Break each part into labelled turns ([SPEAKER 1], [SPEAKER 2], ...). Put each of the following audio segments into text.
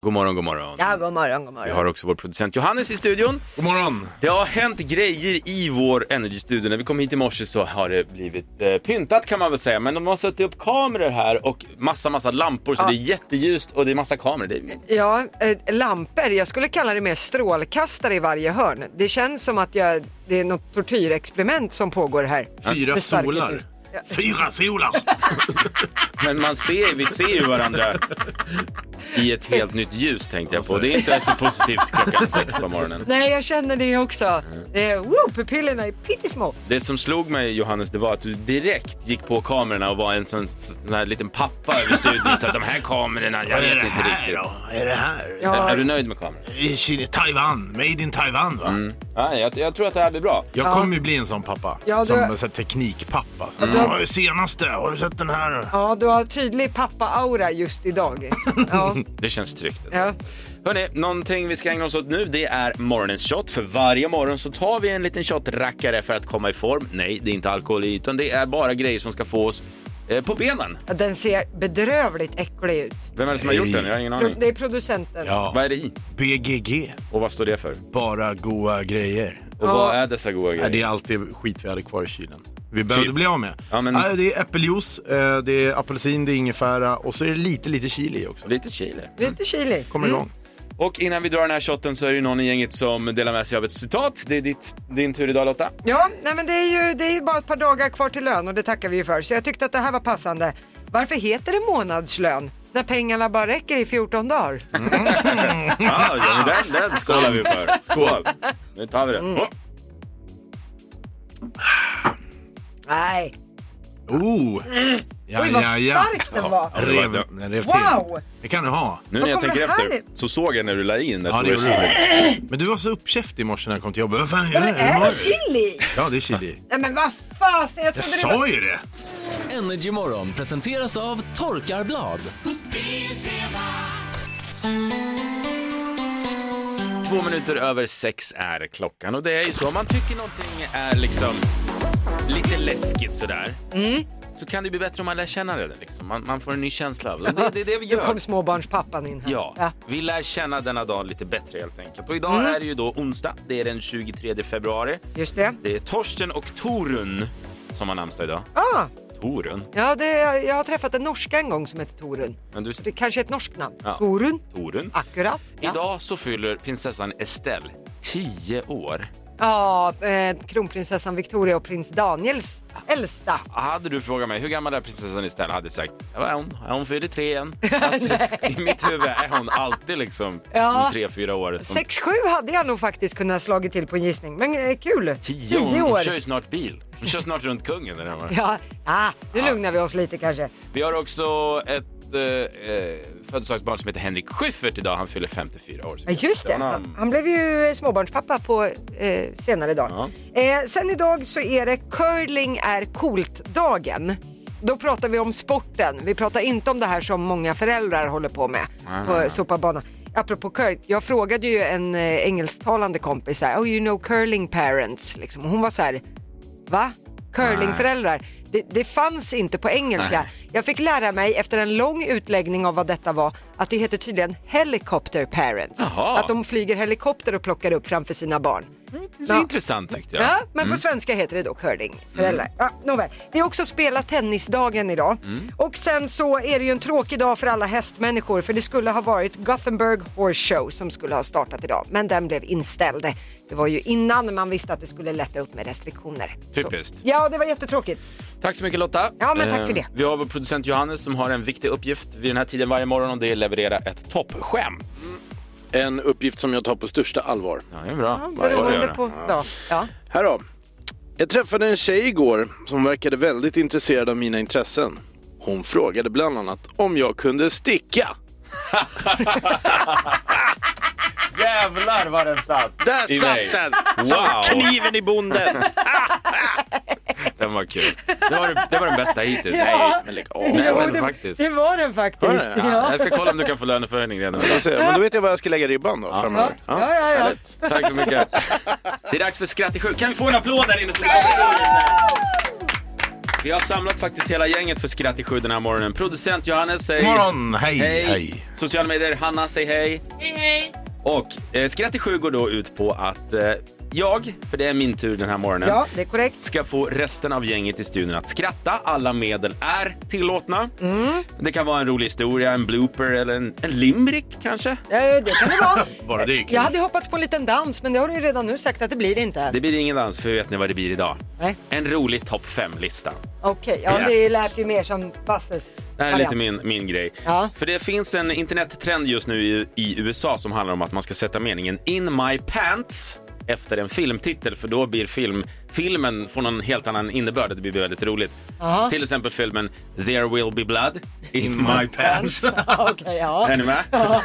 [SPEAKER 1] God morgon, god morgon.
[SPEAKER 2] Ja, god morgon, god
[SPEAKER 1] Vi
[SPEAKER 2] morgon.
[SPEAKER 1] har också vår producent Johannes i studion.
[SPEAKER 3] God morgon!
[SPEAKER 1] Det har hänt grejer i vår Energy-studio. När vi kom hit i morse så har det blivit eh, pyntat kan man väl säga. Men de har suttit upp kameror här och massa, massa lampor så det är jätteljust och det är massa kameror. Det är...
[SPEAKER 2] Ja, eh, lampor. Jag skulle kalla det mer strålkastare i varje hörn. Det känns som att jag, det är något tortyrexperiment som pågår här.
[SPEAKER 3] Fyra
[SPEAKER 2] Med starka
[SPEAKER 3] solar.
[SPEAKER 2] ljud. Ja.
[SPEAKER 3] Fyra solar!
[SPEAKER 1] Men man ser, vi ser ju varandra i ett helt nytt ljus tänkte jag på. Det är inte så positivt klockan sex på morgonen.
[SPEAKER 2] Nej, jag känner det också. Eh, wow, pupillerna är pyttesmå.
[SPEAKER 1] Det som slog mig Johannes, det var att du direkt gick på kamerorna och var en sån, sån här liten pappa över studion. Så att de här kamerorna, jag
[SPEAKER 3] Vad
[SPEAKER 1] vet
[SPEAKER 3] är det
[SPEAKER 1] inte
[SPEAKER 3] här
[SPEAKER 1] riktigt.
[SPEAKER 3] då? Är det här?
[SPEAKER 1] Är,
[SPEAKER 2] Ja,
[SPEAKER 1] är du nöjd med kameran?
[SPEAKER 3] I Kina, Taiwan. Made in Taiwan, va?
[SPEAKER 1] Mm. Nej, jag, jag tror att det här blir bra.
[SPEAKER 3] Jag kommer ju bli en sån pappa.
[SPEAKER 2] Ja, du-
[SPEAKER 3] Som en sån här teknikpappa. Som,
[SPEAKER 2] du-
[SPEAKER 3] mm. "Åh, det senaste, har du sett den här?
[SPEAKER 2] ja, du har tydlig pappa-aura just idag. Ja,
[SPEAKER 1] Det känns tryggt.
[SPEAKER 2] ja.
[SPEAKER 1] Hörrni, någonting vi ska ägna oss åt nu det är morgonens shot. För varje morgon så tar vi en liten shotrackare för att komma i form. Nej, det är inte alkohol i, utan det är bara grejer som ska få oss eh, på benen.
[SPEAKER 2] Ja, Den ser bedrövligt äcklig ut.
[SPEAKER 1] Vem är det som har gjort den? Jag har ingen
[SPEAKER 2] Pro-
[SPEAKER 1] aning.
[SPEAKER 2] Det är producenten.
[SPEAKER 1] Vad är det i?
[SPEAKER 3] BGG.
[SPEAKER 1] Och vad står det för?
[SPEAKER 3] Bara goa grejer.
[SPEAKER 1] Och vad är dessa goda
[SPEAKER 3] Ja,
[SPEAKER 1] grejer?
[SPEAKER 3] det är alltid skit vi hade kvar i kylen. Vi behövde
[SPEAKER 1] Typ.
[SPEAKER 3] bli av med.
[SPEAKER 1] Ja, men-
[SPEAKER 3] Ja, det är äppeljuice, eh, det är apelsin, det är ingefära och så är det lite, lite chili också.
[SPEAKER 1] Lite chili.
[SPEAKER 2] Lite chili.
[SPEAKER 3] Kommer igång.
[SPEAKER 1] Och innan vi drar den här shotten så är det ju någon i gänget som delar med sig av ett citat. Det är ditt, din tur idag Lotta.
[SPEAKER 2] Ja, nej men det är ju det är ju bara ett par dagar kvar till lön och det tackar vi ju för. Så jag tyckte att det här var passande. Varför heter det månadslön? När pengarna bara räcker i 14 dagar.
[SPEAKER 1] Mm. Ja, Ah, ja men den, den skålar vi för. Skål. Nu tar vi det.
[SPEAKER 2] Mm.
[SPEAKER 1] Oh.
[SPEAKER 2] Nej,
[SPEAKER 3] Oh! Ja,
[SPEAKER 2] Oj, vad stark den var.
[SPEAKER 3] Ja, rev, den rev till.
[SPEAKER 2] Wow!
[SPEAKER 3] Det kan du ha.
[SPEAKER 1] Nu
[SPEAKER 2] Var
[SPEAKER 1] när jag
[SPEAKER 2] kommer
[SPEAKER 1] tänker
[SPEAKER 2] det här
[SPEAKER 1] efter
[SPEAKER 2] i-
[SPEAKER 1] så såg jag när du la i den där
[SPEAKER 3] Ja, det
[SPEAKER 1] stora
[SPEAKER 3] gjorde
[SPEAKER 1] chilen.
[SPEAKER 3] du. Men du var så uppkäftig i morse när jag kom till jobbet. Vad fan gör
[SPEAKER 2] men
[SPEAKER 3] du?
[SPEAKER 1] Mm.
[SPEAKER 2] är det
[SPEAKER 3] Vad-
[SPEAKER 2] chili?
[SPEAKER 3] Ja, det är chili.
[SPEAKER 2] Nej men vad fasen, jag
[SPEAKER 3] Jag
[SPEAKER 2] trodde det var...
[SPEAKER 3] sa ju det!
[SPEAKER 4] Energy Morgon presenteras av Torkarblad.
[SPEAKER 1] Två minuter över sex är klockan och det är ju så om man tycker någonting är liksom lite läskigt sådär så kan det bli bättre om man lär känna det. Liksom. Man, man får en ny känsla av det. Det, det är det vi
[SPEAKER 2] Nu kom
[SPEAKER 1] gör.
[SPEAKER 2] småbarnspappan in här.
[SPEAKER 1] Ja, Mm. vi lär känna denna dag lite bättre helt enkelt. Och idag är det ju då onsdag, det är den 23 februari.
[SPEAKER 2] Just det.
[SPEAKER 1] Det är Torsten och Torun som har namnsdag idag.
[SPEAKER 2] Ah,
[SPEAKER 1] Torun?
[SPEAKER 2] ja, det jag, jag har träffat en norska en gång som heter Torun.
[SPEAKER 1] Men du,
[SPEAKER 2] Det kanske är ett norskt namn.
[SPEAKER 1] Ja.
[SPEAKER 2] Torun.
[SPEAKER 1] Torun?
[SPEAKER 2] Akkurat. Ja,
[SPEAKER 1] Idag så fyller prinsessan Estelle 10 år.
[SPEAKER 2] ja eh, kronprinsessan Victoria och prins Daniels äldsta.
[SPEAKER 1] Hade du frågat mig hur gammal är prinsessan Estelle hade jag sagt, "Ja, är hon, är hon fyller tre än? Alltså, I mitt huvud är hon alltid liksom
[SPEAKER 2] Ja.
[SPEAKER 1] om tre, fyra år. Som
[SPEAKER 2] 6-7 hade jag nog faktiskt kunnat slagit till på en gissning, men eh, kul.
[SPEAKER 1] tio, hon,
[SPEAKER 2] Tio
[SPEAKER 1] hon kör ju snart bil. Hon kör snart runt kungen. Den här.
[SPEAKER 2] Ja, ah, nu lugnar vi oss lite kanske.
[SPEAKER 1] Vi har också ett eh, eh, födelsedagsbarn som heter Henrik Schyffert idag. Han fyller 54 år. Så
[SPEAKER 2] Ja, just det,
[SPEAKER 1] grattis
[SPEAKER 2] han,
[SPEAKER 1] honom.
[SPEAKER 2] han blev ju eh, småbarnspappa på eh, senare dagen. Eh, sen idag så är det curling är coolt-dagen. Då pratar vi om sporten. Vi pratar inte om det här som många föräldrar håller på med på sopabanan. Apropå curling, jag frågade ju en eh, engelsktalande kompis här, oh you know curling parents, liksom. Och hon var så här, Va? Curlingföräldrar. Det, det fanns inte på engelska. Jag fick lära mig efter en lång utläggning av vad detta var att det heter tydligen helicopter parents.
[SPEAKER 1] Jaha. Mm,
[SPEAKER 2] Att de flyger helikopter och plockar upp framför sina barn.
[SPEAKER 1] Det är så
[SPEAKER 2] Ja.
[SPEAKER 1] intressant Mm. tyckte jag.
[SPEAKER 2] Ja, men på svenska heter det då curlingföräldrar. Ja, nåväl. det är också spela tennisdagen idag.
[SPEAKER 1] Mm.
[SPEAKER 2] Och sen så är det ju en tråkig dag för alla hästmänniskor för det skulle ha varit Gothenburg Horse Show som skulle ha startat idag men den blev inställd. Det var ju innan man visste att det skulle lätta upp med restriktioner.
[SPEAKER 1] Typiskt.
[SPEAKER 2] Ja, det var jättetråkigt.
[SPEAKER 1] Tack så mycket Lotta. Eh,
[SPEAKER 2] Ja, men tack för det.
[SPEAKER 1] Vi har vår producent Johannes som har en viktig uppgift vid den här tiden varje morgon och det är att leverera ett toppskämt.
[SPEAKER 2] Mm.
[SPEAKER 5] En uppgift som jag tar på största allvar.
[SPEAKER 1] Ja, det är bra. Bra att
[SPEAKER 2] Beroende
[SPEAKER 1] göra.
[SPEAKER 2] på dag. Ja.
[SPEAKER 5] Här då. Jag träffade en tjej igår som verkade väldigt intresserad av mina intressen. Hon frågade bland annat om jag kunde sticka.
[SPEAKER 1] Jävlar vad den satt!
[SPEAKER 5] Där
[SPEAKER 1] I mig.
[SPEAKER 5] satt den!
[SPEAKER 1] Wow!
[SPEAKER 5] Kniven i bonden!
[SPEAKER 1] Den var kul. Det var, det var den bästa hittills.
[SPEAKER 2] Ja.
[SPEAKER 1] Nej, men lägg av. Nej, men
[SPEAKER 2] det,
[SPEAKER 1] faktiskt.
[SPEAKER 2] det var den faktiskt.
[SPEAKER 5] Var det?
[SPEAKER 2] Ja.
[SPEAKER 1] Ja, jag ska kolla om du kan få löneförhöjning redan idag.
[SPEAKER 5] Jag ser, Men då vet jag var jag ska lägga ribban då framöver.
[SPEAKER 2] Ja, ja, ja.
[SPEAKER 5] härligt.
[SPEAKER 1] Tack så mycket. Det är dags för Skratt i sjuk. Kan vi få en applåd där inne? Så vi, vi har samlat faktiskt hela gänget för Skratt i sju den här morgonen. Producent Johannes, säg
[SPEAKER 3] God morgon, hej,
[SPEAKER 1] hej.
[SPEAKER 3] hej.
[SPEAKER 1] Sociala medier, Hanna, säg hej.
[SPEAKER 6] Hej hej!
[SPEAKER 1] Och eh, Skratt i sju går då ut på att eh, jag, för det är min tur den här morgonen,
[SPEAKER 2] ja, det är korrekt.
[SPEAKER 1] ska få resten av gänget i studion att skratta. Alla medel är tillåtna. Det kan vara en rolig historia, en blooper eller en, en limerick kanske.
[SPEAKER 2] Ja, Eh, det kan det vara.
[SPEAKER 3] Bara det är kul.
[SPEAKER 2] Jag hade ju hoppats på en liten dans, men det har du ju redan nu sagt att det blir det inte.
[SPEAKER 1] Det blir ingen dans, för vet ni vad det blir idag?
[SPEAKER 2] Nej.
[SPEAKER 1] En rolig topp 5-lista.
[SPEAKER 2] Okej, ja,
[SPEAKER 1] Yes.
[SPEAKER 2] det lät ju mer som Basses.
[SPEAKER 1] Det här är
[SPEAKER 2] variant.
[SPEAKER 1] lite min, min grej.
[SPEAKER 2] Ja.
[SPEAKER 1] För det finns en internettrend just nu i, i USA som handlar om att man ska sätta meningen in my pants efter en filmtitel för då blir film, filmen får någon helt annan innebörd och det blir väldigt roligt.
[SPEAKER 2] Aha.
[SPEAKER 1] Till exempel filmen There will be blood in my pants.
[SPEAKER 2] Okej, ja.
[SPEAKER 1] Är ni med?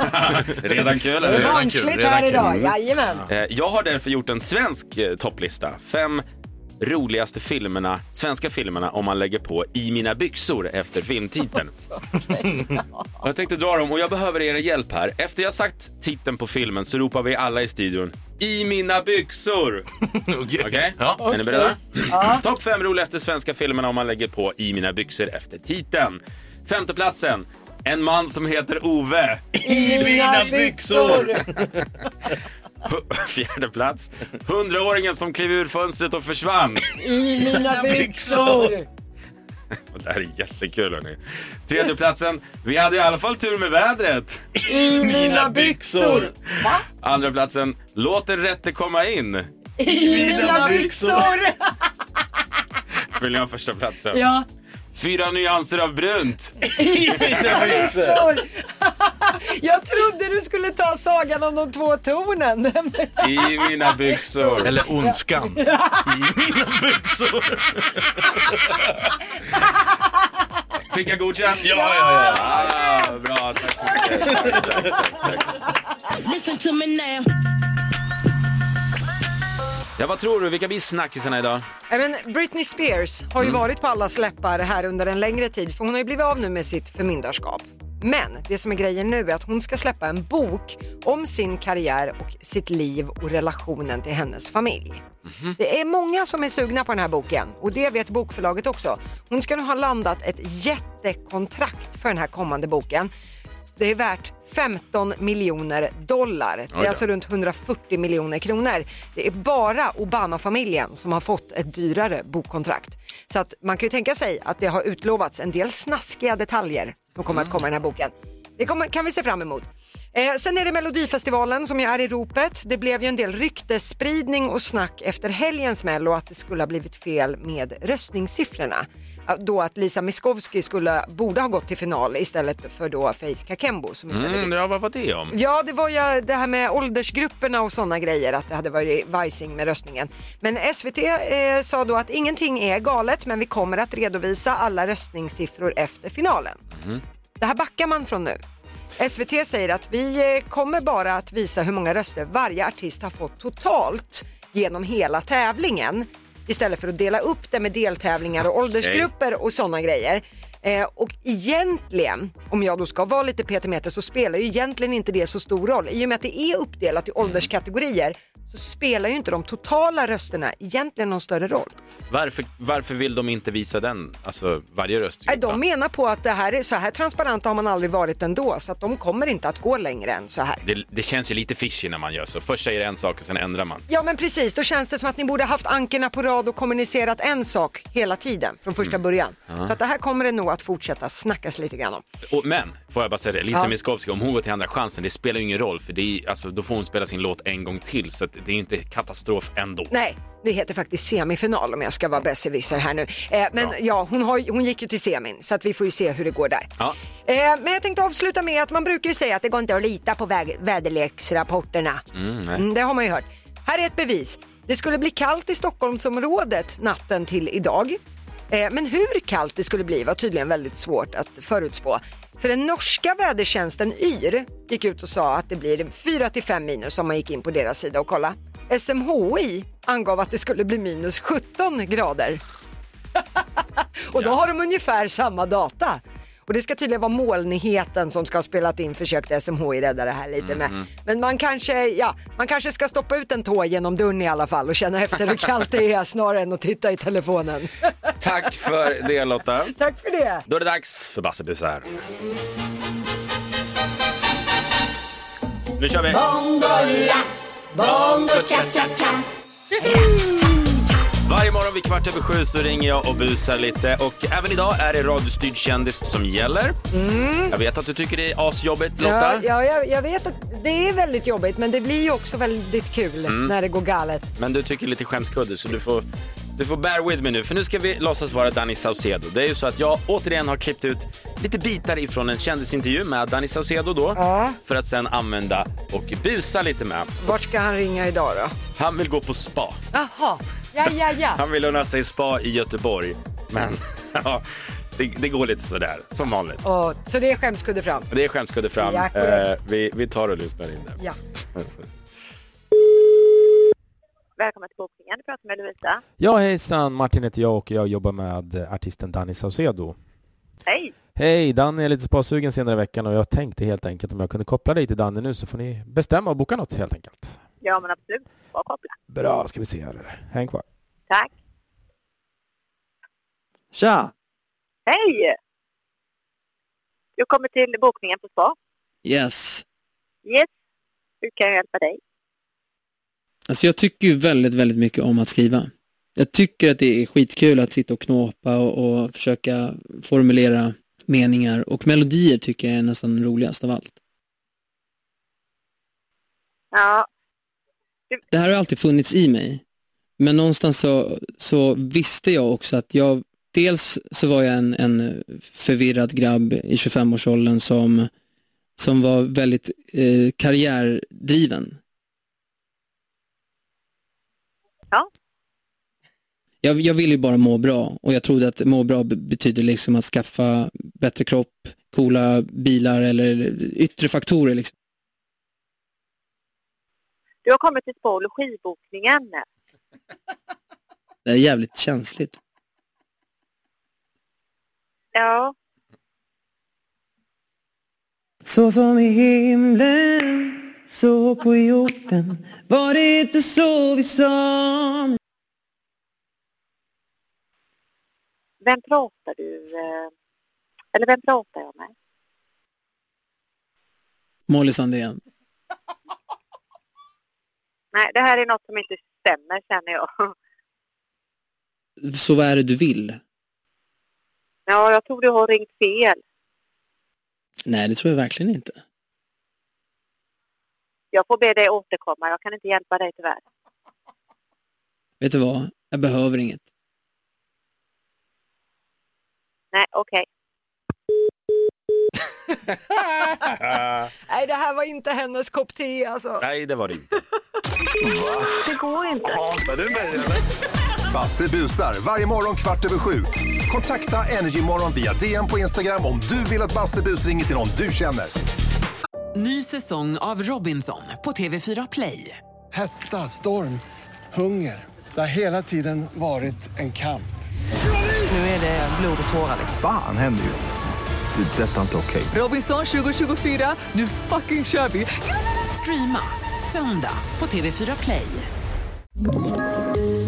[SPEAKER 1] Redan kul,
[SPEAKER 2] Det är
[SPEAKER 1] eller hur?
[SPEAKER 2] barnsligt
[SPEAKER 3] redan
[SPEAKER 2] här
[SPEAKER 3] kul.
[SPEAKER 2] idag,
[SPEAKER 1] Mm.
[SPEAKER 2] jajamän.
[SPEAKER 1] Eh, Jag har därför gjort en svensk eh, topplista. Fem roligaste filmerna, svenska filmerna om man lägger på i mina byxor efter filmtiteln. Och jag tänkte dra dem och jag behöver er hjälp här. Efter jag sagt titeln på filmen så ropar vi alla i studion I mina byxor!
[SPEAKER 3] Okej.
[SPEAKER 1] Okej?
[SPEAKER 3] Ja.
[SPEAKER 1] Är ni beredda? Topp fem roligaste svenska filmerna om man lägger på I mina byxor efter titeln. Femte platsen. En man som heter Ove.
[SPEAKER 2] I mina byxor!
[SPEAKER 1] Fjärde plats. Hundraåringen som klev ur fönstret och försvann.
[SPEAKER 2] I mina byxor!
[SPEAKER 1] Och Det här är jättekul hörni. Tredje platsen. Vi hade i alla fall tur med vädret.
[SPEAKER 2] I mina byxor! Va?
[SPEAKER 1] Andra platsen. Låt den rätte komma in.
[SPEAKER 2] I mina byxor!
[SPEAKER 1] Vill ni ha första platsen?
[SPEAKER 2] Ja.
[SPEAKER 1] Fyra nyanser av brunt.
[SPEAKER 2] byxor. Jag trodde du skulle ta sagan om de två tornen.
[SPEAKER 1] I mina byxor.
[SPEAKER 3] Eller ondskan. I mina byxor.
[SPEAKER 1] Fick jag godkänt? Ja,
[SPEAKER 3] ja,
[SPEAKER 1] Ah, bra, tack så mycket. Tack, tack, tack, tack.
[SPEAKER 6] Listen to me now.
[SPEAKER 1] Ja, vad tror du? Vilka blir snackisarna idag?
[SPEAKER 2] Nej, Men Britney Spears har ju varit på allas läppar här under en längre tid för hon har ju blivit av nu med sitt förmyndarskap. Men det som är grejen nu är att hon ska släppa en bok om sin karriär och sitt liv och relationen till hennes familj.
[SPEAKER 1] Mm.
[SPEAKER 2] Det är många som är sugna på den här boken och det vet bokförlaget också. Hon ska nu ha landat ett jättekontrakt för den här kommande boken. Det är värt 15 miljoner dollar. Det
[SPEAKER 1] Oj
[SPEAKER 2] är
[SPEAKER 1] då.
[SPEAKER 2] alltså runt 140 miljoner kronor. Det är bara Obama-familjen som har fått ett dyrare bokkontrakt. Så att man kan ju tänka sig att det har utlovats en del snaskiga detaljer som kommer att
[SPEAKER 1] Mm.
[SPEAKER 2] komma i den här boken. Det kommer, kan vi se fram emot. Eh, sen är det Melodifestivalen som ju är i ropet. Det blev ju en del ryktesspridning och snack efter helgens Mello att det skulle ha blivit fel med röstningssiffrorna. Ja, Då att Lisa Miskovsky skulle, borde ha gått till final istället för då Faith Kakembo som istället
[SPEAKER 1] Mm, ja, vad var det om?
[SPEAKER 2] Ja, det var ju det här med åldersgrupperna och sådana grejer, att det hade varit vajsing med röstningen. Men SVT eh, sa då att ingenting är galet, men vi kommer att redovisa alla röstningssiffror efter finalen. Det här backar man från nu. SVT säger att vi eh, kommer bara att visa hur många röster varje artist har fått totalt genom hela tävlingen istället för att dela upp det med deltävlingar och åldersgrupper och sådana grejer. Eh, och egentligen, om jag då ska vara lite petimeter så spelar ju egentligen inte det så stor roll. I och med att det är uppdelat i ålderskategorier så spelar ju inte de totala rösterna egentligen någon större roll.
[SPEAKER 1] Varför, varför vill de inte visa den? Alltså, varje röst.
[SPEAKER 2] Nej, De menar på att det här är så här transparenta har man aldrig varit ändå så att de kommer inte att gå längre än så här.
[SPEAKER 1] Det, det känns ju lite fishy när man gör så. Först säger en sak och sen ändrar man.
[SPEAKER 2] Ja men precis, då känns det som att ni borde haft ankerna på rad och kommunicerat en sak hela tiden från första början. Så att det här kommer det nog att fortsätta snackas lite grann om.
[SPEAKER 1] Och, men, får jag bara säga det, Lisa
[SPEAKER 2] Ja.
[SPEAKER 1] Miskovsky, om hon går till Andra chansen, det spelar ju ingen roll för det är, alltså, då får hon spela sin låt en gång till så att det är ju inte katastrof ändå.
[SPEAKER 2] Nej, det heter faktiskt semifinal om jag ska vara besserwisser här nu. Eh, men ja, hon, har, ju- hon gick ju till semin så att vi får ju se hur det går där.
[SPEAKER 1] Ja.
[SPEAKER 2] Eh, men jag tänkte avsluta med att man brukar ju säga att det går inte att lita på väg- väderleksrapporterna. Mm, det har man ju hört. Här är ett bevis. Det skulle bli kallt i Stockholmsområdet natten till idag. Eh, Men hur kallt det skulle bli var tydligen väldigt svårt att förutspå. För den norska vädertjänsten YR gick ut och sa att det blir 4-5 minus om man gick in på deras sida och kolla. SMHI angav att det skulle bli minus 17 grader. Och då har de ungefär samma data. Och det ska tydligen vara molnigheten som ska ha spelat in, försökte SMHI rädda det här lite med. Men man kanske, ja, man kanske ska stoppa ut en tå genom dörren i alla fall och känna efter hur kallt det är snarare än att titta i telefonen.
[SPEAKER 1] Tack för det Lotta.
[SPEAKER 2] Tack för det!
[SPEAKER 1] Då är det dags för Bassebus här. Nu kör vi! Varje morgon vid kvart över sju så ringer jag och busar lite och även idag är det radiostyrd kändis som gäller. Jag vet att du tycker det är asjobbigt Lotta.
[SPEAKER 2] Mm. Ja, ja, jag, jag vet att det är väldigt jobbigt men det blir ju också väldigt kul när det går galet.
[SPEAKER 1] Men du tycker lite skämskudde så du får, du får bear with me nu för nu ska vi låtsas vara Danny Saucedo. Det är ju så att jag återigen har klippt ut lite bitar ifrån en kändisintervju med Danny Saucedo då
[SPEAKER 2] Ja.
[SPEAKER 1] för att sen använda och busa lite med.
[SPEAKER 2] Vart ska han ringa idag då?
[SPEAKER 1] Han vill gå på spa.
[SPEAKER 2] Jaha, ja ja ja.
[SPEAKER 1] Han vill unna sig spa i Göteborg. Men ja, det, det går lite sådär som vanligt.
[SPEAKER 2] Och, så det är skämskudde fram.
[SPEAKER 1] Men Det är skämskudde fram.
[SPEAKER 2] Ja, korrekt.
[SPEAKER 1] Eh, vi, vi tar och lyssnar in det.
[SPEAKER 2] Ja.
[SPEAKER 7] Välkommen till bokningen. Du pratar med Lovisa.
[SPEAKER 8] Ja hejsan, Martin heter jag och jag jobbar med eh, artisten Danny Saucedo.
[SPEAKER 7] Hej!
[SPEAKER 8] Hej, Danny är lite spasugen senare i veckan och jag tänkte helt enkelt om jag kunde koppla dig till Danny nu så får ni bestämma och boka något helt enkelt.
[SPEAKER 7] Ja, men absolut. Var koppla.
[SPEAKER 8] Bra, ska vi se här. Häng kvar.
[SPEAKER 7] Tack.
[SPEAKER 9] Tja!
[SPEAKER 7] Hej! Du kommer till bokningen på spa.
[SPEAKER 9] Yes.
[SPEAKER 7] Yes. Hur kan jag hjälpa dig?
[SPEAKER 9] Alltså jag tycker ju väldigt, väldigt mycket om att skriva. Jag tycker att det är skitkul att sitta och knåpa och, och försöka formulera meningar och melodier tycker jag är nästan roligast av allt.
[SPEAKER 7] Ja,
[SPEAKER 9] Det här har alltid funnits i mig. Men någonstans så, så visste jag också att jag, dels så var jag en, en förvirrad grabb i 25-årsåldern som, som var väldigt eh, karriärdriven.
[SPEAKER 7] Ja.
[SPEAKER 9] Jag, jag ville ju bara må bra och jag trodde att må bra be- betyder liksom att skaffa bättre kropp, coola bilar eller yttre faktorer. Liksom.
[SPEAKER 7] du har kommit till spa och logibokningen.
[SPEAKER 9] Det är jävligt känsligt.
[SPEAKER 7] Ja,
[SPEAKER 10] Så som i himlen, så på jorden var det inte så vi sa.
[SPEAKER 7] vem pratar du... eh, Eller vem pratar jag med?
[SPEAKER 9] Molly Sandén.
[SPEAKER 7] Nej, det här är något som inte stämmer känner jag.
[SPEAKER 9] Så vad är det du vill?
[SPEAKER 7] Ja, jag tror du har ringt fel.
[SPEAKER 9] Nej, det tror jag verkligen inte.
[SPEAKER 7] Jag får be dig återkomma. Jag kan inte hjälpa dig tyvärr.
[SPEAKER 9] Vet du vad? Jag behöver inget.
[SPEAKER 7] Nej, okej.
[SPEAKER 2] Nej det här var inte hennes kopp te alltså.
[SPEAKER 1] Nej, det var det inte.
[SPEAKER 2] Det går inte.
[SPEAKER 11] Basse busar varje morgon kvart över sju. Kontakta Energymorgon via DM på Instagram om du vill att Basse bus ringer till någon du känner.
[SPEAKER 12] Ny säsong av Robinson på TV4 Play.
[SPEAKER 13] Hetta, storm, hunger. Det har hela tiden varit en kamp.
[SPEAKER 12] Nu är det blod och tårar.
[SPEAKER 14] Fan händer just nu. Det. är Detta är inte okej.
[SPEAKER 12] Robinson 2024, nu fucking kör vi! Streama söndag på TV4 Play.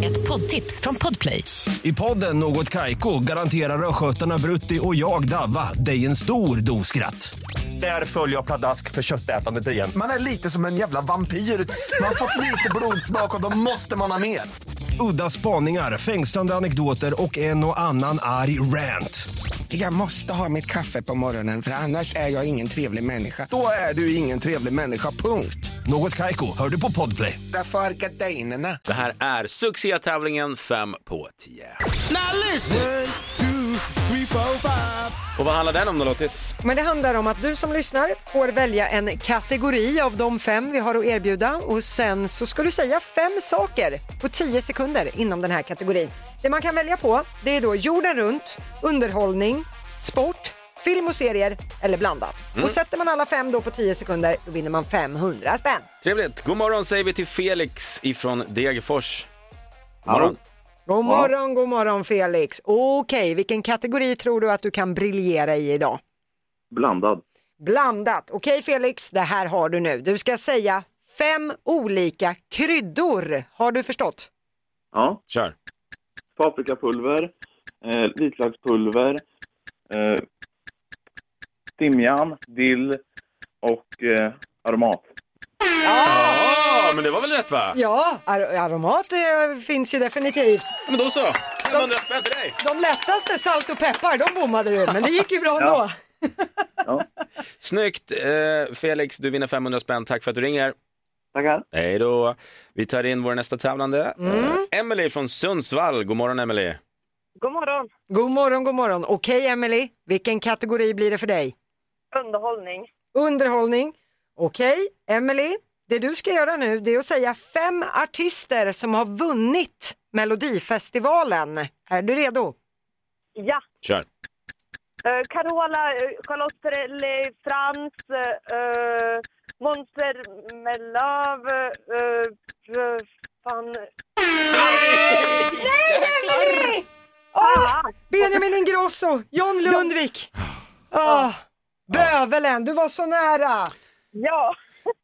[SPEAKER 15] Ett poddtips från Podplay.
[SPEAKER 16] I podden Något Kaiko garanterar östgötarna Brutti och jag, Davva, dig en stor dos skratt. Där följer jag pladask för köttätandet igen.
[SPEAKER 17] Man är lite som en jävla vampyr. Man har fått lite blodsmak och då måste man ha mer.
[SPEAKER 16] Udda spaningar, fängslande anekdoter och en och annan arg rant.
[SPEAKER 17] Jag måste ha mitt kaffe på morgonen för annars är jag ingen trevlig människa. Då är du ingen trevlig människa, punkt.
[SPEAKER 16] Något Kaiko, hör du på podplay.
[SPEAKER 17] Därför är gardinerna.
[SPEAKER 1] Det här är succétävlingen 5 på 10.
[SPEAKER 6] Now listen.
[SPEAKER 1] Och vad handlar den om då Lottis?
[SPEAKER 2] Men det handlar om att du som lyssnar får välja en kategori av de fem vi har att erbjuda och sen så ska du säga fem saker på 10 sekunder inom den här kategorin. Det man kan välja på det är då jorden runt, underhållning, sport, film och serier eller blandat.
[SPEAKER 1] Mm.
[SPEAKER 2] Och sätter man alla fem då på 10 sekunder då vinner man 500 spänn.
[SPEAKER 1] Trevligt. God morgon säger vi till Felix ifrån Degerfors. God morgon.
[SPEAKER 2] God morgon, god morgon Felix. Okej, vilken kategori tror du att du kan briljera i idag?
[SPEAKER 15] Blandad.
[SPEAKER 2] Blandat. Okej Felix, det här har du nu. Du ska säga fem olika kryddor. Har du förstått?
[SPEAKER 15] Ja.
[SPEAKER 1] Kör.
[SPEAKER 15] Paprikapulver, eh, vitlökspulver, eh, timjan, dill och eh, aromat.
[SPEAKER 1] Ja, men det var väl rätt va?
[SPEAKER 2] Ja, ar- aromat eh, finns ju definitivt.
[SPEAKER 1] Men då så, 500 spänn till dig.
[SPEAKER 2] De lättaste, salt och peppar, de bommade du, men det gick ju bra ändå.
[SPEAKER 1] Snyggt! Eh, Felix, du vinner 500 spänn. Tack för att du ringer.
[SPEAKER 15] Tackar.
[SPEAKER 1] Hej då. Vi tar in vår nästa tävlande. Eh, Emily från Sundsvall. God morgon Emily.
[SPEAKER 2] God morgon. God morgon, god morgon. Okej Emily, vilken kategori blir det för dig?
[SPEAKER 7] Underhållning.
[SPEAKER 2] Underhållning. Okej, Emily, det du ska göra nu det är att säga fem artister som har vunnit Melodifestivalen. Är du redo?
[SPEAKER 7] Ja.
[SPEAKER 1] Kör.
[SPEAKER 7] Eh, Carola, eh, Charlotte Perrelli, Frans, eh, eh, Monster Melöv, eh, eh, fan...
[SPEAKER 2] Nej, Emily! Ah, Benjamin Ingrosso, John Lundvik. Ah, bövelen, du var så nära.
[SPEAKER 7] Ja,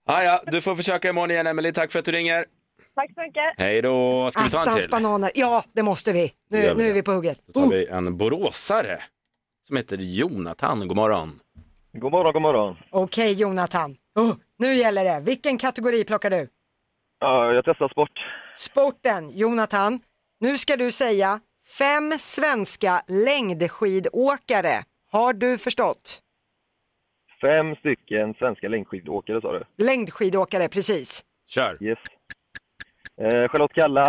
[SPEAKER 1] Ah, ja, du får försöka imorgon igen Emily. Tack för att du ringer.
[SPEAKER 7] tack så mycket.
[SPEAKER 1] Hej då. Ska vi ta en
[SPEAKER 2] Attans
[SPEAKER 1] till?
[SPEAKER 2] bananer. Ja, det måste vi.
[SPEAKER 1] Det gör
[SPEAKER 2] Nu,
[SPEAKER 1] vi
[SPEAKER 2] nu är
[SPEAKER 1] det.
[SPEAKER 2] vi på hugget. Oh.
[SPEAKER 1] Då tar vi en boråsare som heter Jonathan. God morgon.
[SPEAKER 15] God morgon, god morgon.
[SPEAKER 2] Okej, Jonathan. Oh, nu gäller det. Vilken kategori plockar du?
[SPEAKER 15] Ja, jag testar sport.
[SPEAKER 2] Sporten, Jonathan. Nu ska du säga fem svenska längdskidåkare. Har du förstått?
[SPEAKER 15] Fem stycken svenska längdskidåkare sa du?
[SPEAKER 2] Längdskidåkare, precis.
[SPEAKER 1] Kör.
[SPEAKER 15] Yes. Eh, Charlotte Kalla.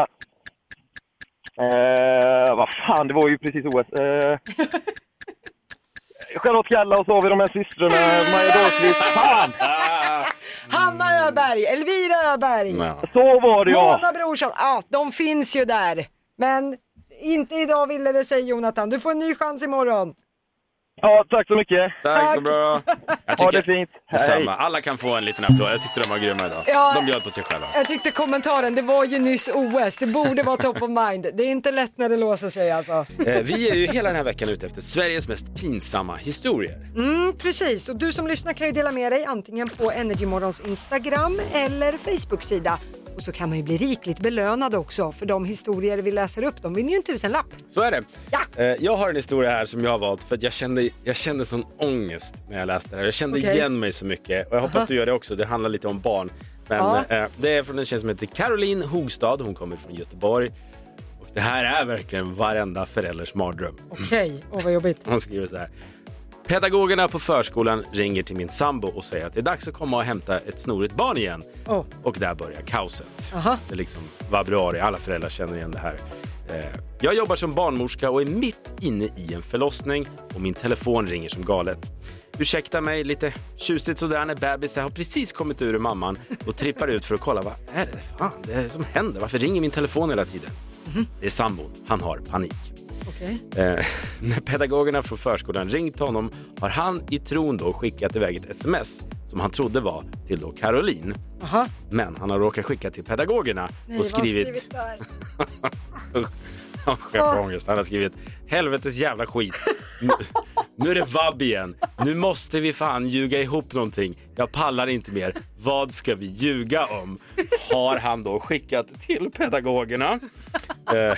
[SPEAKER 15] Eh, vad fan, det var ju precis OS. Eh, Charlotte Kalla och så har vi de här systrarna, Maja Dahlqvist. Fan!
[SPEAKER 2] Hanna Öberg, Elvira Öberg,
[SPEAKER 15] Så var det ja!
[SPEAKER 2] Mona Brorsson. Ja, de finns ju där. Men inte idag ville det sig, Jonathan. Du får en ny chans imorgon.
[SPEAKER 15] Ja, tack så mycket.
[SPEAKER 1] Tack, god bra. Jag
[SPEAKER 15] Ha det fint. Hej.
[SPEAKER 1] Detsamma. Alla kan få en liten applåd. Jag tyckte de var grymma idag.
[SPEAKER 2] Ja.
[SPEAKER 1] De bjöd på sig själva.
[SPEAKER 2] Jag tyckte kommentaren, det var ju nyss OS, det borde vara top of mind. Det är inte lätt när det låser sig alltså.
[SPEAKER 1] Eh, Vi är ju hela den här veckan ute efter Sveriges mest pinsamma historier.
[SPEAKER 2] Mm, precis, och du som lyssnar kan ju dela med dig antingen på Energymorgons Instagram eller Facebook-sida. Och så kan man ju bli rikligt belönad också för de historier vi läser upp, de vinner ju en tusenlapp.
[SPEAKER 1] Så är det. Eh, Jag har en historia här som jag har valt för att jag kände, jag kände sån ångest när jag läste det här. Jag kände
[SPEAKER 2] Okej.
[SPEAKER 1] igen mig så mycket och jag hoppas
[SPEAKER 2] Aha.
[SPEAKER 1] du gör det också. Det handlar lite om barn. Men
[SPEAKER 2] Ja.
[SPEAKER 1] eh, det är från en tjej som heter Caroline Hogstad. Hon kommer från Göteborg. Och det här är verkligen varenda förälders mardröm.
[SPEAKER 2] Okej, åh vad jobbigt.
[SPEAKER 1] Hon skriver så här. Pedagogerna på förskolan ringer till min sambo och säger att det är dags att komma och hämta ett snorigt barn igen.
[SPEAKER 2] Åh.
[SPEAKER 1] Och där börjar kaoset.
[SPEAKER 2] Aha.
[SPEAKER 1] Det är liksom vabruari, alla föräldrar känner igen det här. Eh, Jag jobbar som barnmorska och är mitt inne i en förlossning och min telefon ringer som galet. Ursäkta mig, lite tjusigt sådär när bebisen har precis kommit ur mamman och trippar ut för att kolla vad är det fan det är som händer? Varför ringer min telefon hela tiden?
[SPEAKER 2] Mhm.
[SPEAKER 1] Det är sambon, han har panik. Eh, när pedagogerna från förskolan ringt honom har han i tron då skickat iväg ett sms som han trodde var till då Caroline.
[SPEAKER 2] Aha.
[SPEAKER 1] Men han har råkat skicka till pedagogerna
[SPEAKER 2] Nej,
[SPEAKER 1] och
[SPEAKER 2] vad har
[SPEAKER 1] skrivit...
[SPEAKER 2] skrivit där?
[SPEAKER 1] Usch, Jag får ångest. Han har skrivit helvetes jävla skit. Nu, nu är det vabb igen. Nu måste vi fan ljuga ihop någonting. Jag pallar inte mer. Vad ska vi ljuga om? Har han då skickat till pedagogerna. Eh,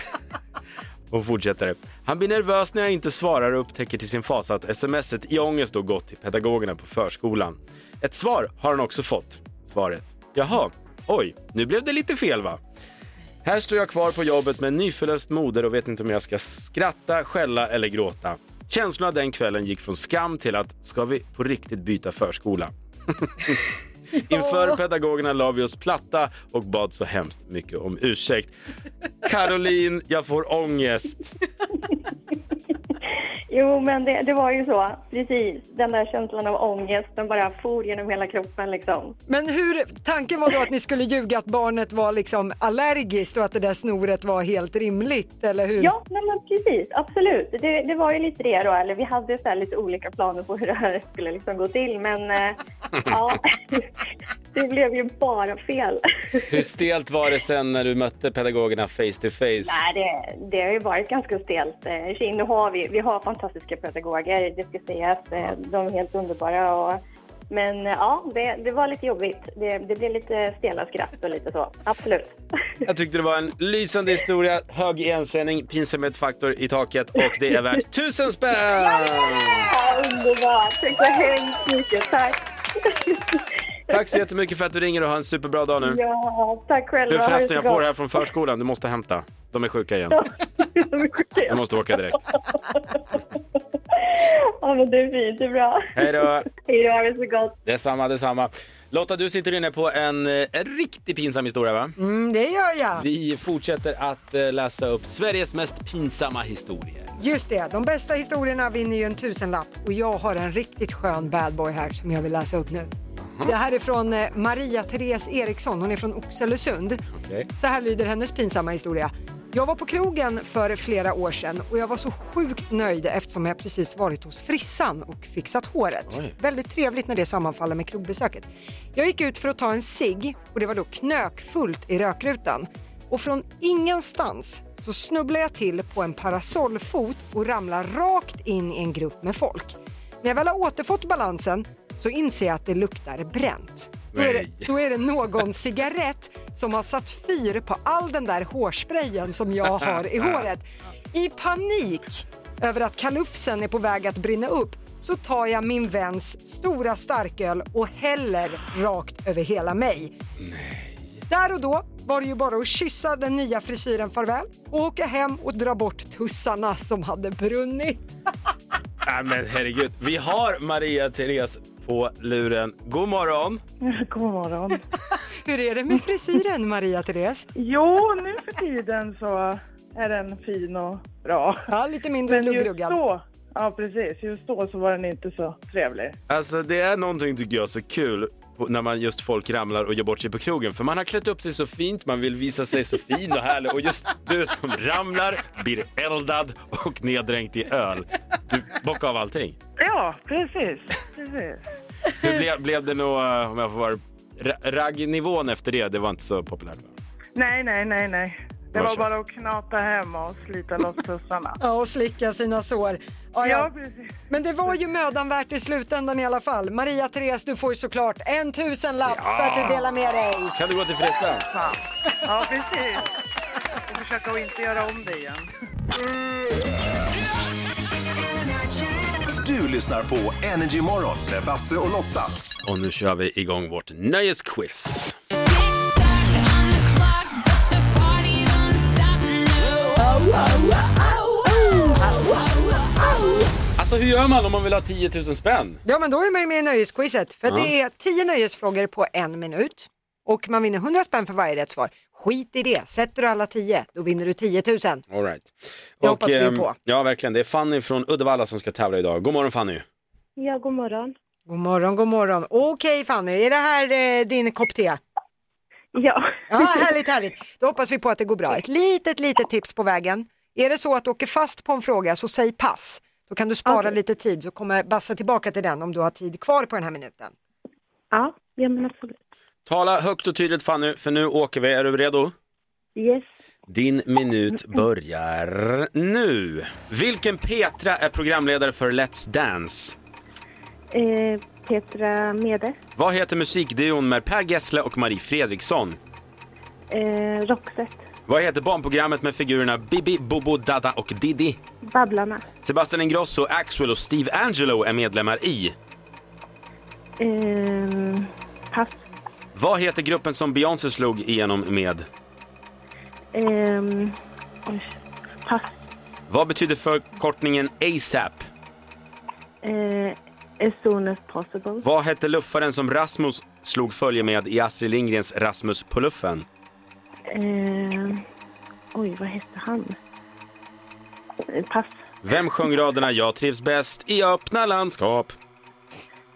[SPEAKER 1] och fortsätter. Han blir nervös när jag inte svarar och upptäcker till sin fasa att smset i ångest då gått till pedagogerna på förskolan. Ett svar har han också fått. Svaret. Jaha, oj, nu blev det lite fel va? Här står jag kvar på jobbet med en nyförlöst moder och vet inte om jag ska skratta, skälla eller gråta. Känslorna den kvällen gick från skam till att ska vi på riktigt byta förskola? Inför pedagogerna la vi oss platta och bad så hemskt mycket om ursäkt. Caroline, jag får ångest.
[SPEAKER 7] Jo, men det, det var ju så. Precis. Den där känslan av ångest, den bara for genom hela kroppen liksom.
[SPEAKER 2] Men hur, tanken var då att ni skulle ljuga att barnet var liksom allergiskt och att det där snoret var helt rimligt, eller hur?
[SPEAKER 7] Ja, nej, men precis. Absolut. Det, det var ju lite det då. Eller vi hade så här lite olika planer på hur det här skulle liksom gå till. Men eh, ja,
[SPEAKER 9] Det blev ju bara fel.
[SPEAKER 1] Hur stelt var det sen när du mötte pedagogerna face to face?
[SPEAKER 9] Nej, det, det har ju varit ganska stelt. Eh, Kina har vi, vi har fantastiska pedagoger, det ska sägas. Eh, De är helt underbara. Och, men eh, ja, det, det var lite jobbigt. Det, det blev lite stela skratt och lite så. Absolut.
[SPEAKER 1] Jag tyckte det var en lysande historia, hög igenkänning, pinsamhetsfaktor i taket och det är värt tusen spänn!
[SPEAKER 9] Ja, Underbart! Tack så hemskt mycket. Tack!
[SPEAKER 1] Tack så jättemycket för att du ringer och ha en superbra dag nu.
[SPEAKER 9] Ja, tack själva.
[SPEAKER 1] Du
[SPEAKER 9] Ha det
[SPEAKER 1] förresten,
[SPEAKER 9] så
[SPEAKER 1] jag
[SPEAKER 9] bra.
[SPEAKER 1] får det här från förskolan, du måste hämta. De är sjuka igen. Jag måste åka direkt.
[SPEAKER 9] Ja, men det är fint. Det är bra.
[SPEAKER 1] Hej då!
[SPEAKER 9] Hej då, ha det så gott.
[SPEAKER 1] Detsamma, detsamma. Lotta, du sitter inne på en, eh, en riktigt pinsam historia va?
[SPEAKER 2] Mm, det gör jag.
[SPEAKER 1] Vi fortsätter att eh, läsa upp Sveriges mest pinsamma historier.
[SPEAKER 2] Just det, de bästa historierna vinner ju en tusenlapp och jag har en riktigt skön badboy här som jag vill läsa upp nu. Det här är från eh, Maria Therese Eriksson, hon är från Oxelösund. Så här lyder hennes pinsamma historia. Jag var på krogen för flera år sedan och jag var så sjukt nöjd eftersom jag precis varit hos frissan och fixat håret.
[SPEAKER 18] Oj.
[SPEAKER 2] Väldigt trevligt när det sammanfaller med krogbesöket. Jag gick ut för att ta en cigg och det var då knökfullt i rökrutan. Och från ingenstans så snubblade jag till på en parasollfot och ramlade rakt in i en grupp med folk. När jag väl har återfått balansen så inser jag att det luktar bränt. Då är,
[SPEAKER 18] Nej.
[SPEAKER 2] det, då är det någon cigarett som har satt fyr på all den där hårsprayen som jag har i håret. I panik över att kalufsen är på väg att brinna upp så tar jag min väns stora starköl och häller rakt över hela mig. Där och då var det ju bara att kyssa den nya frisyren farväl och åka hem och dra bort tussarna som hade brunnit.
[SPEAKER 1] Nej men herregud, vi har Maria Therese på luren. God morgon!
[SPEAKER 19] God morgon.
[SPEAKER 2] Hur är det med frisyren Maria Therese?
[SPEAKER 19] Jo, nu för tiden så är den fin och bra.
[SPEAKER 2] Ja, lite mindre
[SPEAKER 19] Men just
[SPEAKER 2] pluggruggad.
[SPEAKER 19] då, ja precis, just då så var den inte så trevlig.
[SPEAKER 1] Alltså det är någonting tycker jag så kul på- när man just folk ramlar och gör bort sig på krogen. För man har klätt upp sig så fint, man vill visa sig så fin och härlig och just du som ramlar blir eldad och neddränkt i öl. Du bockar av allting.
[SPEAKER 19] Ja, precis. precis.
[SPEAKER 1] Hur blev, blev det nog, eh, om jag får vara ra- raggnivån efter det? Det var inte så populärt. va?
[SPEAKER 19] Nej, nej, nej, nej. Det
[SPEAKER 1] Varsågod.
[SPEAKER 19] var bara att knata hem och slita loss tussarna.
[SPEAKER 2] Ja, och slicka sina sår. Ja,
[SPEAKER 19] Ja,
[SPEAKER 2] Men det var ju mödan värt i slutändan i alla fall. Maria Therese, du får ju såklart en tusenlapp
[SPEAKER 1] Ja.
[SPEAKER 2] för att du delar med dig.
[SPEAKER 1] Kan du gå till frissan?
[SPEAKER 19] Fan. Ja, precis. Och försöka att inte göra om det igen.
[SPEAKER 11] Du lyssnar på Energy Morgon med Basse och Lotta.
[SPEAKER 1] Och nu kör vi igång vårt nöjesquiz. Alltså hur gör man om man vill ha 10 000 spänn?
[SPEAKER 2] Ja, men då är man ju med i nöjesquizet. För
[SPEAKER 1] Ja.
[SPEAKER 2] det är tio nöjesfrågor på en minut och man vinner 100 spänn för varje rätt svar. Skit i det, sätter du alla tio, då vinner du 10 000.
[SPEAKER 1] All right.
[SPEAKER 2] Det hoppas vi
[SPEAKER 1] ehm,
[SPEAKER 2] på.
[SPEAKER 1] Ja, verkligen. Det är Fanny från Uddevalla som ska tävla idag. God morgon Fanny.
[SPEAKER 2] Ja, god morgon. God morgon, god morgon. Okej Fanny, är det här eh, din kopp te? Ja. Ja, härligt, härligt. Då hoppas vi på att det går bra. Ett litet, litet tips på vägen. Är det så att du åker fast på en fråga så säg pass. Då kan du spara lite tid så kommer Bassa tillbaka till den om du har tid kvar på den här minuten. Ja, ja men absolut.
[SPEAKER 1] Tala högt och tydligt Fanny, för nu åker vi. Är du redo?
[SPEAKER 19] Yes.
[SPEAKER 1] Din minut börjar nu. Vilken Petra är programledare för Let's Dance?
[SPEAKER 9] Eh, Petra Mede.
[SPEAKER 1] Vad heter musikduon med Per Gessle och Marie Fredriksson?
[SPEAKER 9] Eh, Roxette.
[SPEAKER 1] Vad heter barnprogrammet med figurerna Bibi, Bobo, Dada och Didi?
[SPEAKER 9] Babblarna.
[SPEAKER 1] Sebastian Ingrosso, Axwell och Steve Angelo är medlemmar i.
[SPEAKER 9] Eh, pass.
[SPEAKER 1] Vad heter gruppen som Beyoncé slog igenom med?
[SPEAKER 9] Eh, oj. pass.
[SPEAKER 1] Vad betyder förkortningen ASAP?
[SPEAKER 9] Eh, as soon as possible.
[SPEAKER 1] Vad hette luffaren som Rasmus slog följe med i Astrid Lindgrens Rasmus på luffen?
[SPEAKER 9] Eh, oj, vad hette han? Eh, pass.
[SPEAKER 1] Vem sjöng raderna “Jag trivs bäst i öppna landskap”?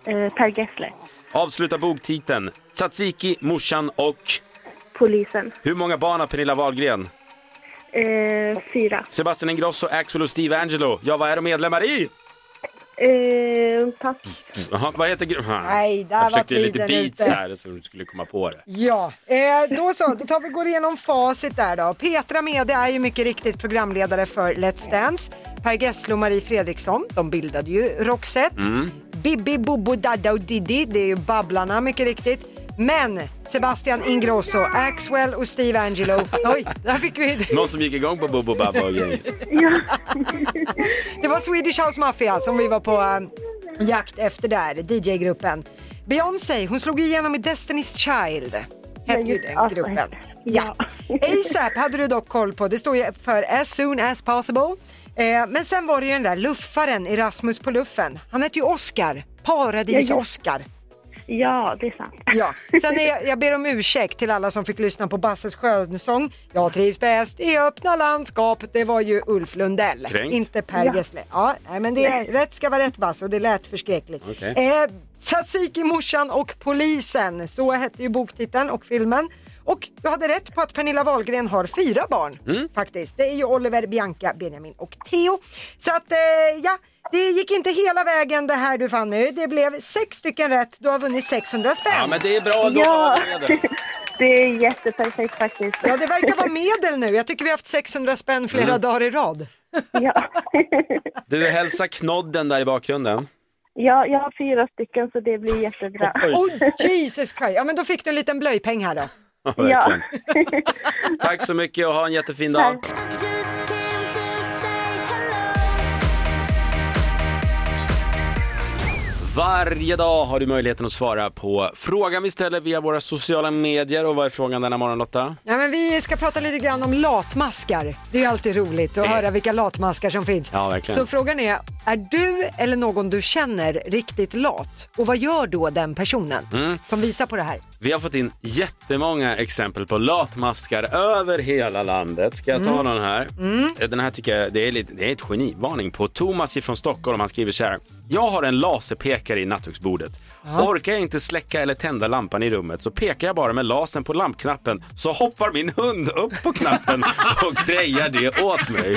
[SPEAKER 9] Eh, per Gessle.
[SPEAKER 1] Avsluta boktiteln Tsatsiki, morsan och...
[SPEAKER 9] Polisen.
[SPEAKER 1] Hur många barn har Pernilla Wahlgren?
[SPEAKER 9] Eh, fyra.
[SPEAKER 1] Sebastian Ingrosso, Axel och Steve Angelo. Ja, vad är de medlemmar i?
[SPEAKER 9] Eh,
[SPEAKER 7] lugnt, tack.
[SPEAKER 1] Jaha, vad heter gruppen?
[SPEAKER 2] Nej, där
[SPEAKER 1] jag
[SPEAKER 2] var
[SPEAKER 1] försökte lite
[SPEAKER 2] tiden
[SPEAKER 1] beats
[SPEAKER 2] ute.
[SPEAKER 1] här så du skulle komma på det.
[SPEAKER 2] Ja, eh, då så, då tar vi går igenom facit där då. Petra Mede är ju mycket riktigt programledare för Let's Dance. Per Gessle och Marie Fredriksson, de bildade ju Roxette.
[SPEAKER 10] Mm.
[SPEAKER 2] Bibi, Bobo, Dada och Diddy, det är ju Babblarna mycket riktigt. Men Sebastian Ingrosso, Axwell och Steve Angelo. Oj, där fick vi
[SPEAKER 1] Någon som gick igång på Bobo Babba och grejer.
[SPEAKER 2] Det var Swedish House Mafia som vi var på eh, jakt efter där, DJ-gruppen. Beyoncé, hon slog igenom i Destiny's Child, hette ju den gruppen. Ja. ASAP hade du dock koll på, det står ju för As soon as possible. Eh, men sen var det ju den där luffaren, Erasmus på luffen. Han hette ju Oscar,
[SPEAKER 7] Ja, ja.
[SPEAKER 2] Paradis-Oscar.
[SPEAKER 7] Ja, det är sant.
[SPEAKER 2] Ja, sen är jag, jag ber om ursäkt till alla som fick lyssna på Basses skönsång. Jag trivs bäst i öppna landskap. Det var ju Ulf Lundell,
[SPEAKER 10] Kränkt.
[SPEAKER 2] inte Per
[SPEAKER 10] Ja.
[SPEAKER 2] Gessle. Ja, nej, men det är, rätt ska vara rätt Basse och det lät förskräckligt.
[SPEAKER 10] Okej.
[SPEAKER 2] Eh, Tzatziki, morsan och polisen. Så hette ju boktiteln och filmen. Och du hade rätt på att Pernilla Wahlgren har fyra barn
[SPEAKER 10] Mm.
[SPEAKER 2] faktiskt. Det är ju Oliver, Bianca, Benjamin och Theo. Så att eh, ja, det gick inte hela vägen det här du fann nu. Det blev sex stycken rätt. Du har vunnit 600 spänn.
[SPEAKER 1] Ja, men det är bra ändå.
[SPEAKER 2] Ja.
[SPEAKER 7] Det är jätteperfekt faktiskt.
[SPEAKER 2] Ja, det verkar vara medel nu. Jag tycker vi har haft 600 spänn flera
[SPEAKER 1] Mm.
[SPEAKER 2] dagar i rad.
[SPEAKER 1] Du, hälsa Knodden där i bakgrunden.
[SPEAKER 7] Ja, jag har fyra stycken så det blir jättebra.
[SPEAKER 2] Oh, Jesus Christ. Ja, men då fick du en liten blöjpeng här då.
[SPEAKER 1] Ja, verkligen. Tack så mycket och ha en jättefin dag. Varje dag har du möjligheten att svara på frågan vi ställer via våra sociala medier. Och vad är frågan denna morgon Lotta?
[SPEAKER 2] Ja, men vi ska prata lite grann om latmaskar. Det är alltid roligt att höra vilka latmaskar som finns.
[SPEAKER 1] Ja, verkligen.
[SPEAKER 2] Så frågan är, är du eller någon du känner riktigt lat? Och vad gör då den personen
[SPEAKER 1] Mm.
[SPEAKER 2] som visar på det här?
[SPEAKER 1] Vi har fått in jättemånga exempel på latmaskar över hela landet. Ska jag ta
[SPEAKER 2] Mm.
[SPEAKER 1] någon här?
[SPEAKER 2] Mm.
[SPEAKER 1] Den här tycker jag det är, lite, det är ett genivarning på. Thomas från Stockholm han skriver så här. Jag har en laserpekare i nattduksbordet.
[SPEAKER 10] Ja.
[SPEAKER 1] Orkar jag inte släcka eller tända lampan i rummet så pekar jag bara med lasern på lampknappen så hoppar min hund upp på knappen och grejar det åt mig.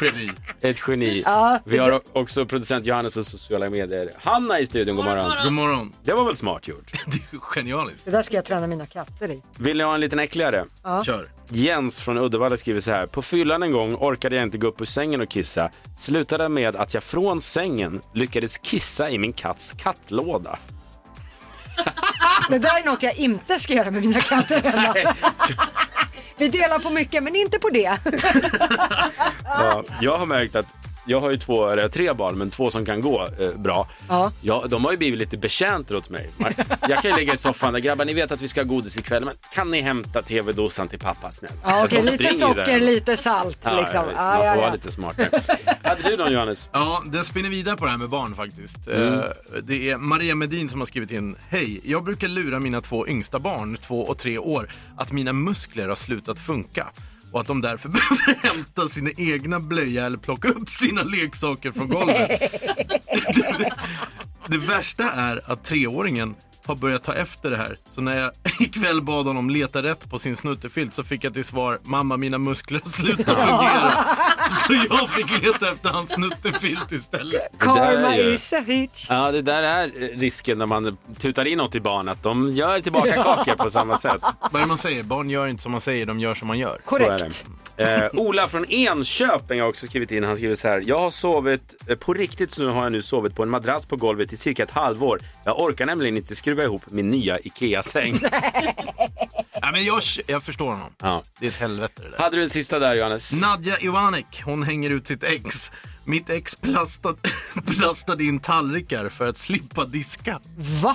[SPEAKER 1] Geni. Ett geni.
[SPEAKER 10] Ja.
[SPEAKER 1] Vi har också producent Johannes och sociala medier. Hanna i studion, god morgon.
[SPEAKER 2] God
[SPEAKER 1] morgon. Det var väl smart gjort? det är genialiskt.
[SPEAKER 2] Det där ska jag träna mina katter i.
[SPEAKER 1] Vill ni ha en liten äckligare?
[SPEAKER 2] Ja. Kör.
[SPEAKER 1] Jens från Uddevalla skriver så här. På fyllan en gång orkade jag inte gå upp ur sängen och kissa. Slutade med att jag från sängen lyckades kissa i min katts kattlåda.
[SPEAKER 2] Det där är något jag inte ska göra med mina katter hemma. Vi delar på mycket men inte på det.
[SPEAKER 1] Ja, jag har märkt att jag har ju två, eller tre barn, men två som kan gå eh, bra. Ja. de har ju blivit lite betjänter åt mig. Man- Jag kan ju ligga i soffan där, grabbar ni vet att vi ska ha godis ikväll, men kan ni hämta tv-dosan till pappa snälla?
[SPEAKER 2] Ja,
[SPEAKER 1] Så de
[SPEAKER 2] okej, lite
[SPEAKER 1] springer där.
[SPEAKER 2] socker, lite salt
[SPEAKER 1] Ja,
[SPEAKER 2] liksom.
[SPEAKER 1] visst,
[SPEAKER 2] Ja,
[SPEAKER 1] man får
[SPEAKER 2] ja,
[SPEAKER 1] vara
[SPEAKER 2] ja.
[SPEAKER 1] lite smart där. Hade du någon Johannes?
[SPEAKER 3] Ja, den spinner vidare på det här med barn faktiskt.
[SPEAKER 1] Mm.
[SPEAKER 3] Eh, Det är Maria Medin som har skrivit in. Hej, jag brukar lura mina två yngsta barn, två och tre år, att mina muskler har slutat funka och att de därför behöver hämta sina egna blöja eller plocka upp sina leksaker från golvet. Det värsta är att treåringen har börjat ta efter det här. Så när jag ikväll bad honom leta rätt på sin snuttefilt så fick jag till svar Mamma mina muskler har slutat fungera. Så jag fick leta efter hans snuttefilt istället.
[SPEAKER 1] Det där är
[SPEAKER 2] Karma
[SPEAKER 1] ju-
[SPEAKER 2] is a bitch.
[SPEAKER 1] Ja, det där är eh, risken när man tutar in något i barn, att de gör tillbaka kakor på samma sätt.
[SPEAKER 3] Vad är det man säger? Barn gör inte som man säger, de gör som man gör.
[SPEAKER 1] Så är det. Eh, Ola från Enköping har också skrivit in. Han skriver så här. Jag har sovit, eh, på riktigt nu har jag nu sovit på en madrass på golvet i cirka ett halvår. Jag orkar nämligen inte skruva ihop min nya IKEA-säng.
[SPEAKER 3] Ja, men jag, jag förstår honom.
[SPEAKER 1] Ja.
[SPEAKER 3] Det är ett helvete det där.
[SPEAKER 1] Hade du en sista där Johannes?
[SPEAKER 3] Nadja Ivanek, hon hänger ut sitt ex. Mitt ex plastad, plastade in tallrikar för att slippa diska.
[SPEAKER 2] Va?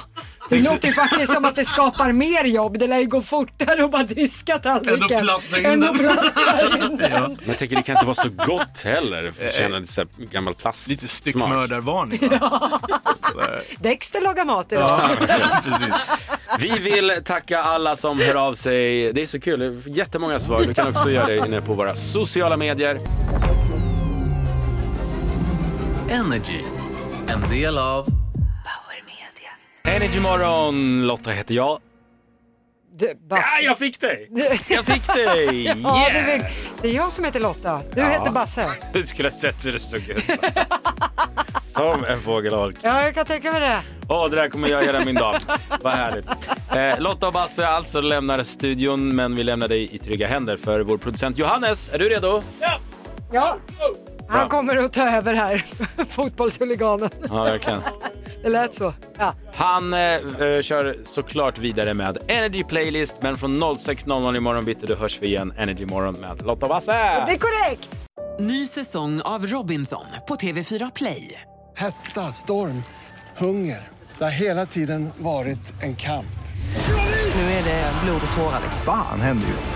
[SPEAKER 2] Det låter ju faktiskt som att det skapar mer jobb. Det lär ju gå fortare att bara diska tallriken.
[SPEAKER 3] Än att plasta in
[SPEAKER 2] Än
[SPEAKER 3] den.
[SPEAKER 2] att plasta in den.
[SPEAKER 1] Men jag tänker det kan inte vara så gott heller. för att Känna lite så här gammal plast. Lite
[SPEAKER 3] styckmördarvarning.
[SPEAKER 2] Dexter lagar mat idag.
[SPEAKER 1] Ja, Vi vill tacka alla som hör av sig. Det är så kul. Vi får Jättemånga svar. Du kan också göra det inne på våra sociala medier.
[SPEAKER 4] Energy. En del av...
[SPEAKER 1] Energy morgon. Lotta heter jag.
[SPEAKER 2] Ja,
[SPEAKER 1] jag fick dig! Jag fick dig!
[SPEAKER 2] Ja, det,
[SPEAKER 1] Yeah!
[SPEAKER 2] är, det är jag som heter Lotta. Du
[SPEAKER 1] Ja.
[SPEAKER 2] heter Basse.
[SPEAKER 1] Du skulle ha sett hur det såg ut. Som en fågelholk.
[SPEAKER 2] Ja, jag kan tänka mig det.
[SPEAKER 1] Åh, det där kommer jag göra min dag. Vad härligt. Eh, Lotta och Basse alltså lämnar studion, men vi lämnar dig i trygga händer för vår producent Johannes. Är du redo?
[SPEAKER 2] Ja.
[SPEAKER 1] Bra.
[SPEAKER 2] Han kommer att ta över här, fotbollshuliganen.
[SPEAKER 1] Ja, verkligen.
[SPEAKER 2] Det lät så. Ja.
[SPEAKER 1] Han eh, eh, kör såklart vidare med Energy Playlist, men från 06.00 imorgon bitti då hörs vi igen Energy Morgon med Lotta och Basse.
[SPEAKER 2] Det är korrekt.
[SPEAKER 12] Ny säsong av Robinson på TV4 Play.
[SPEAKER 13] Hetta, storm, hunger. Det har hela tiden varit en kamp.
[SPEAKER 12] Nu är det blod och tårar. liksom.
[SPEAKER 14] Fan händer just nu.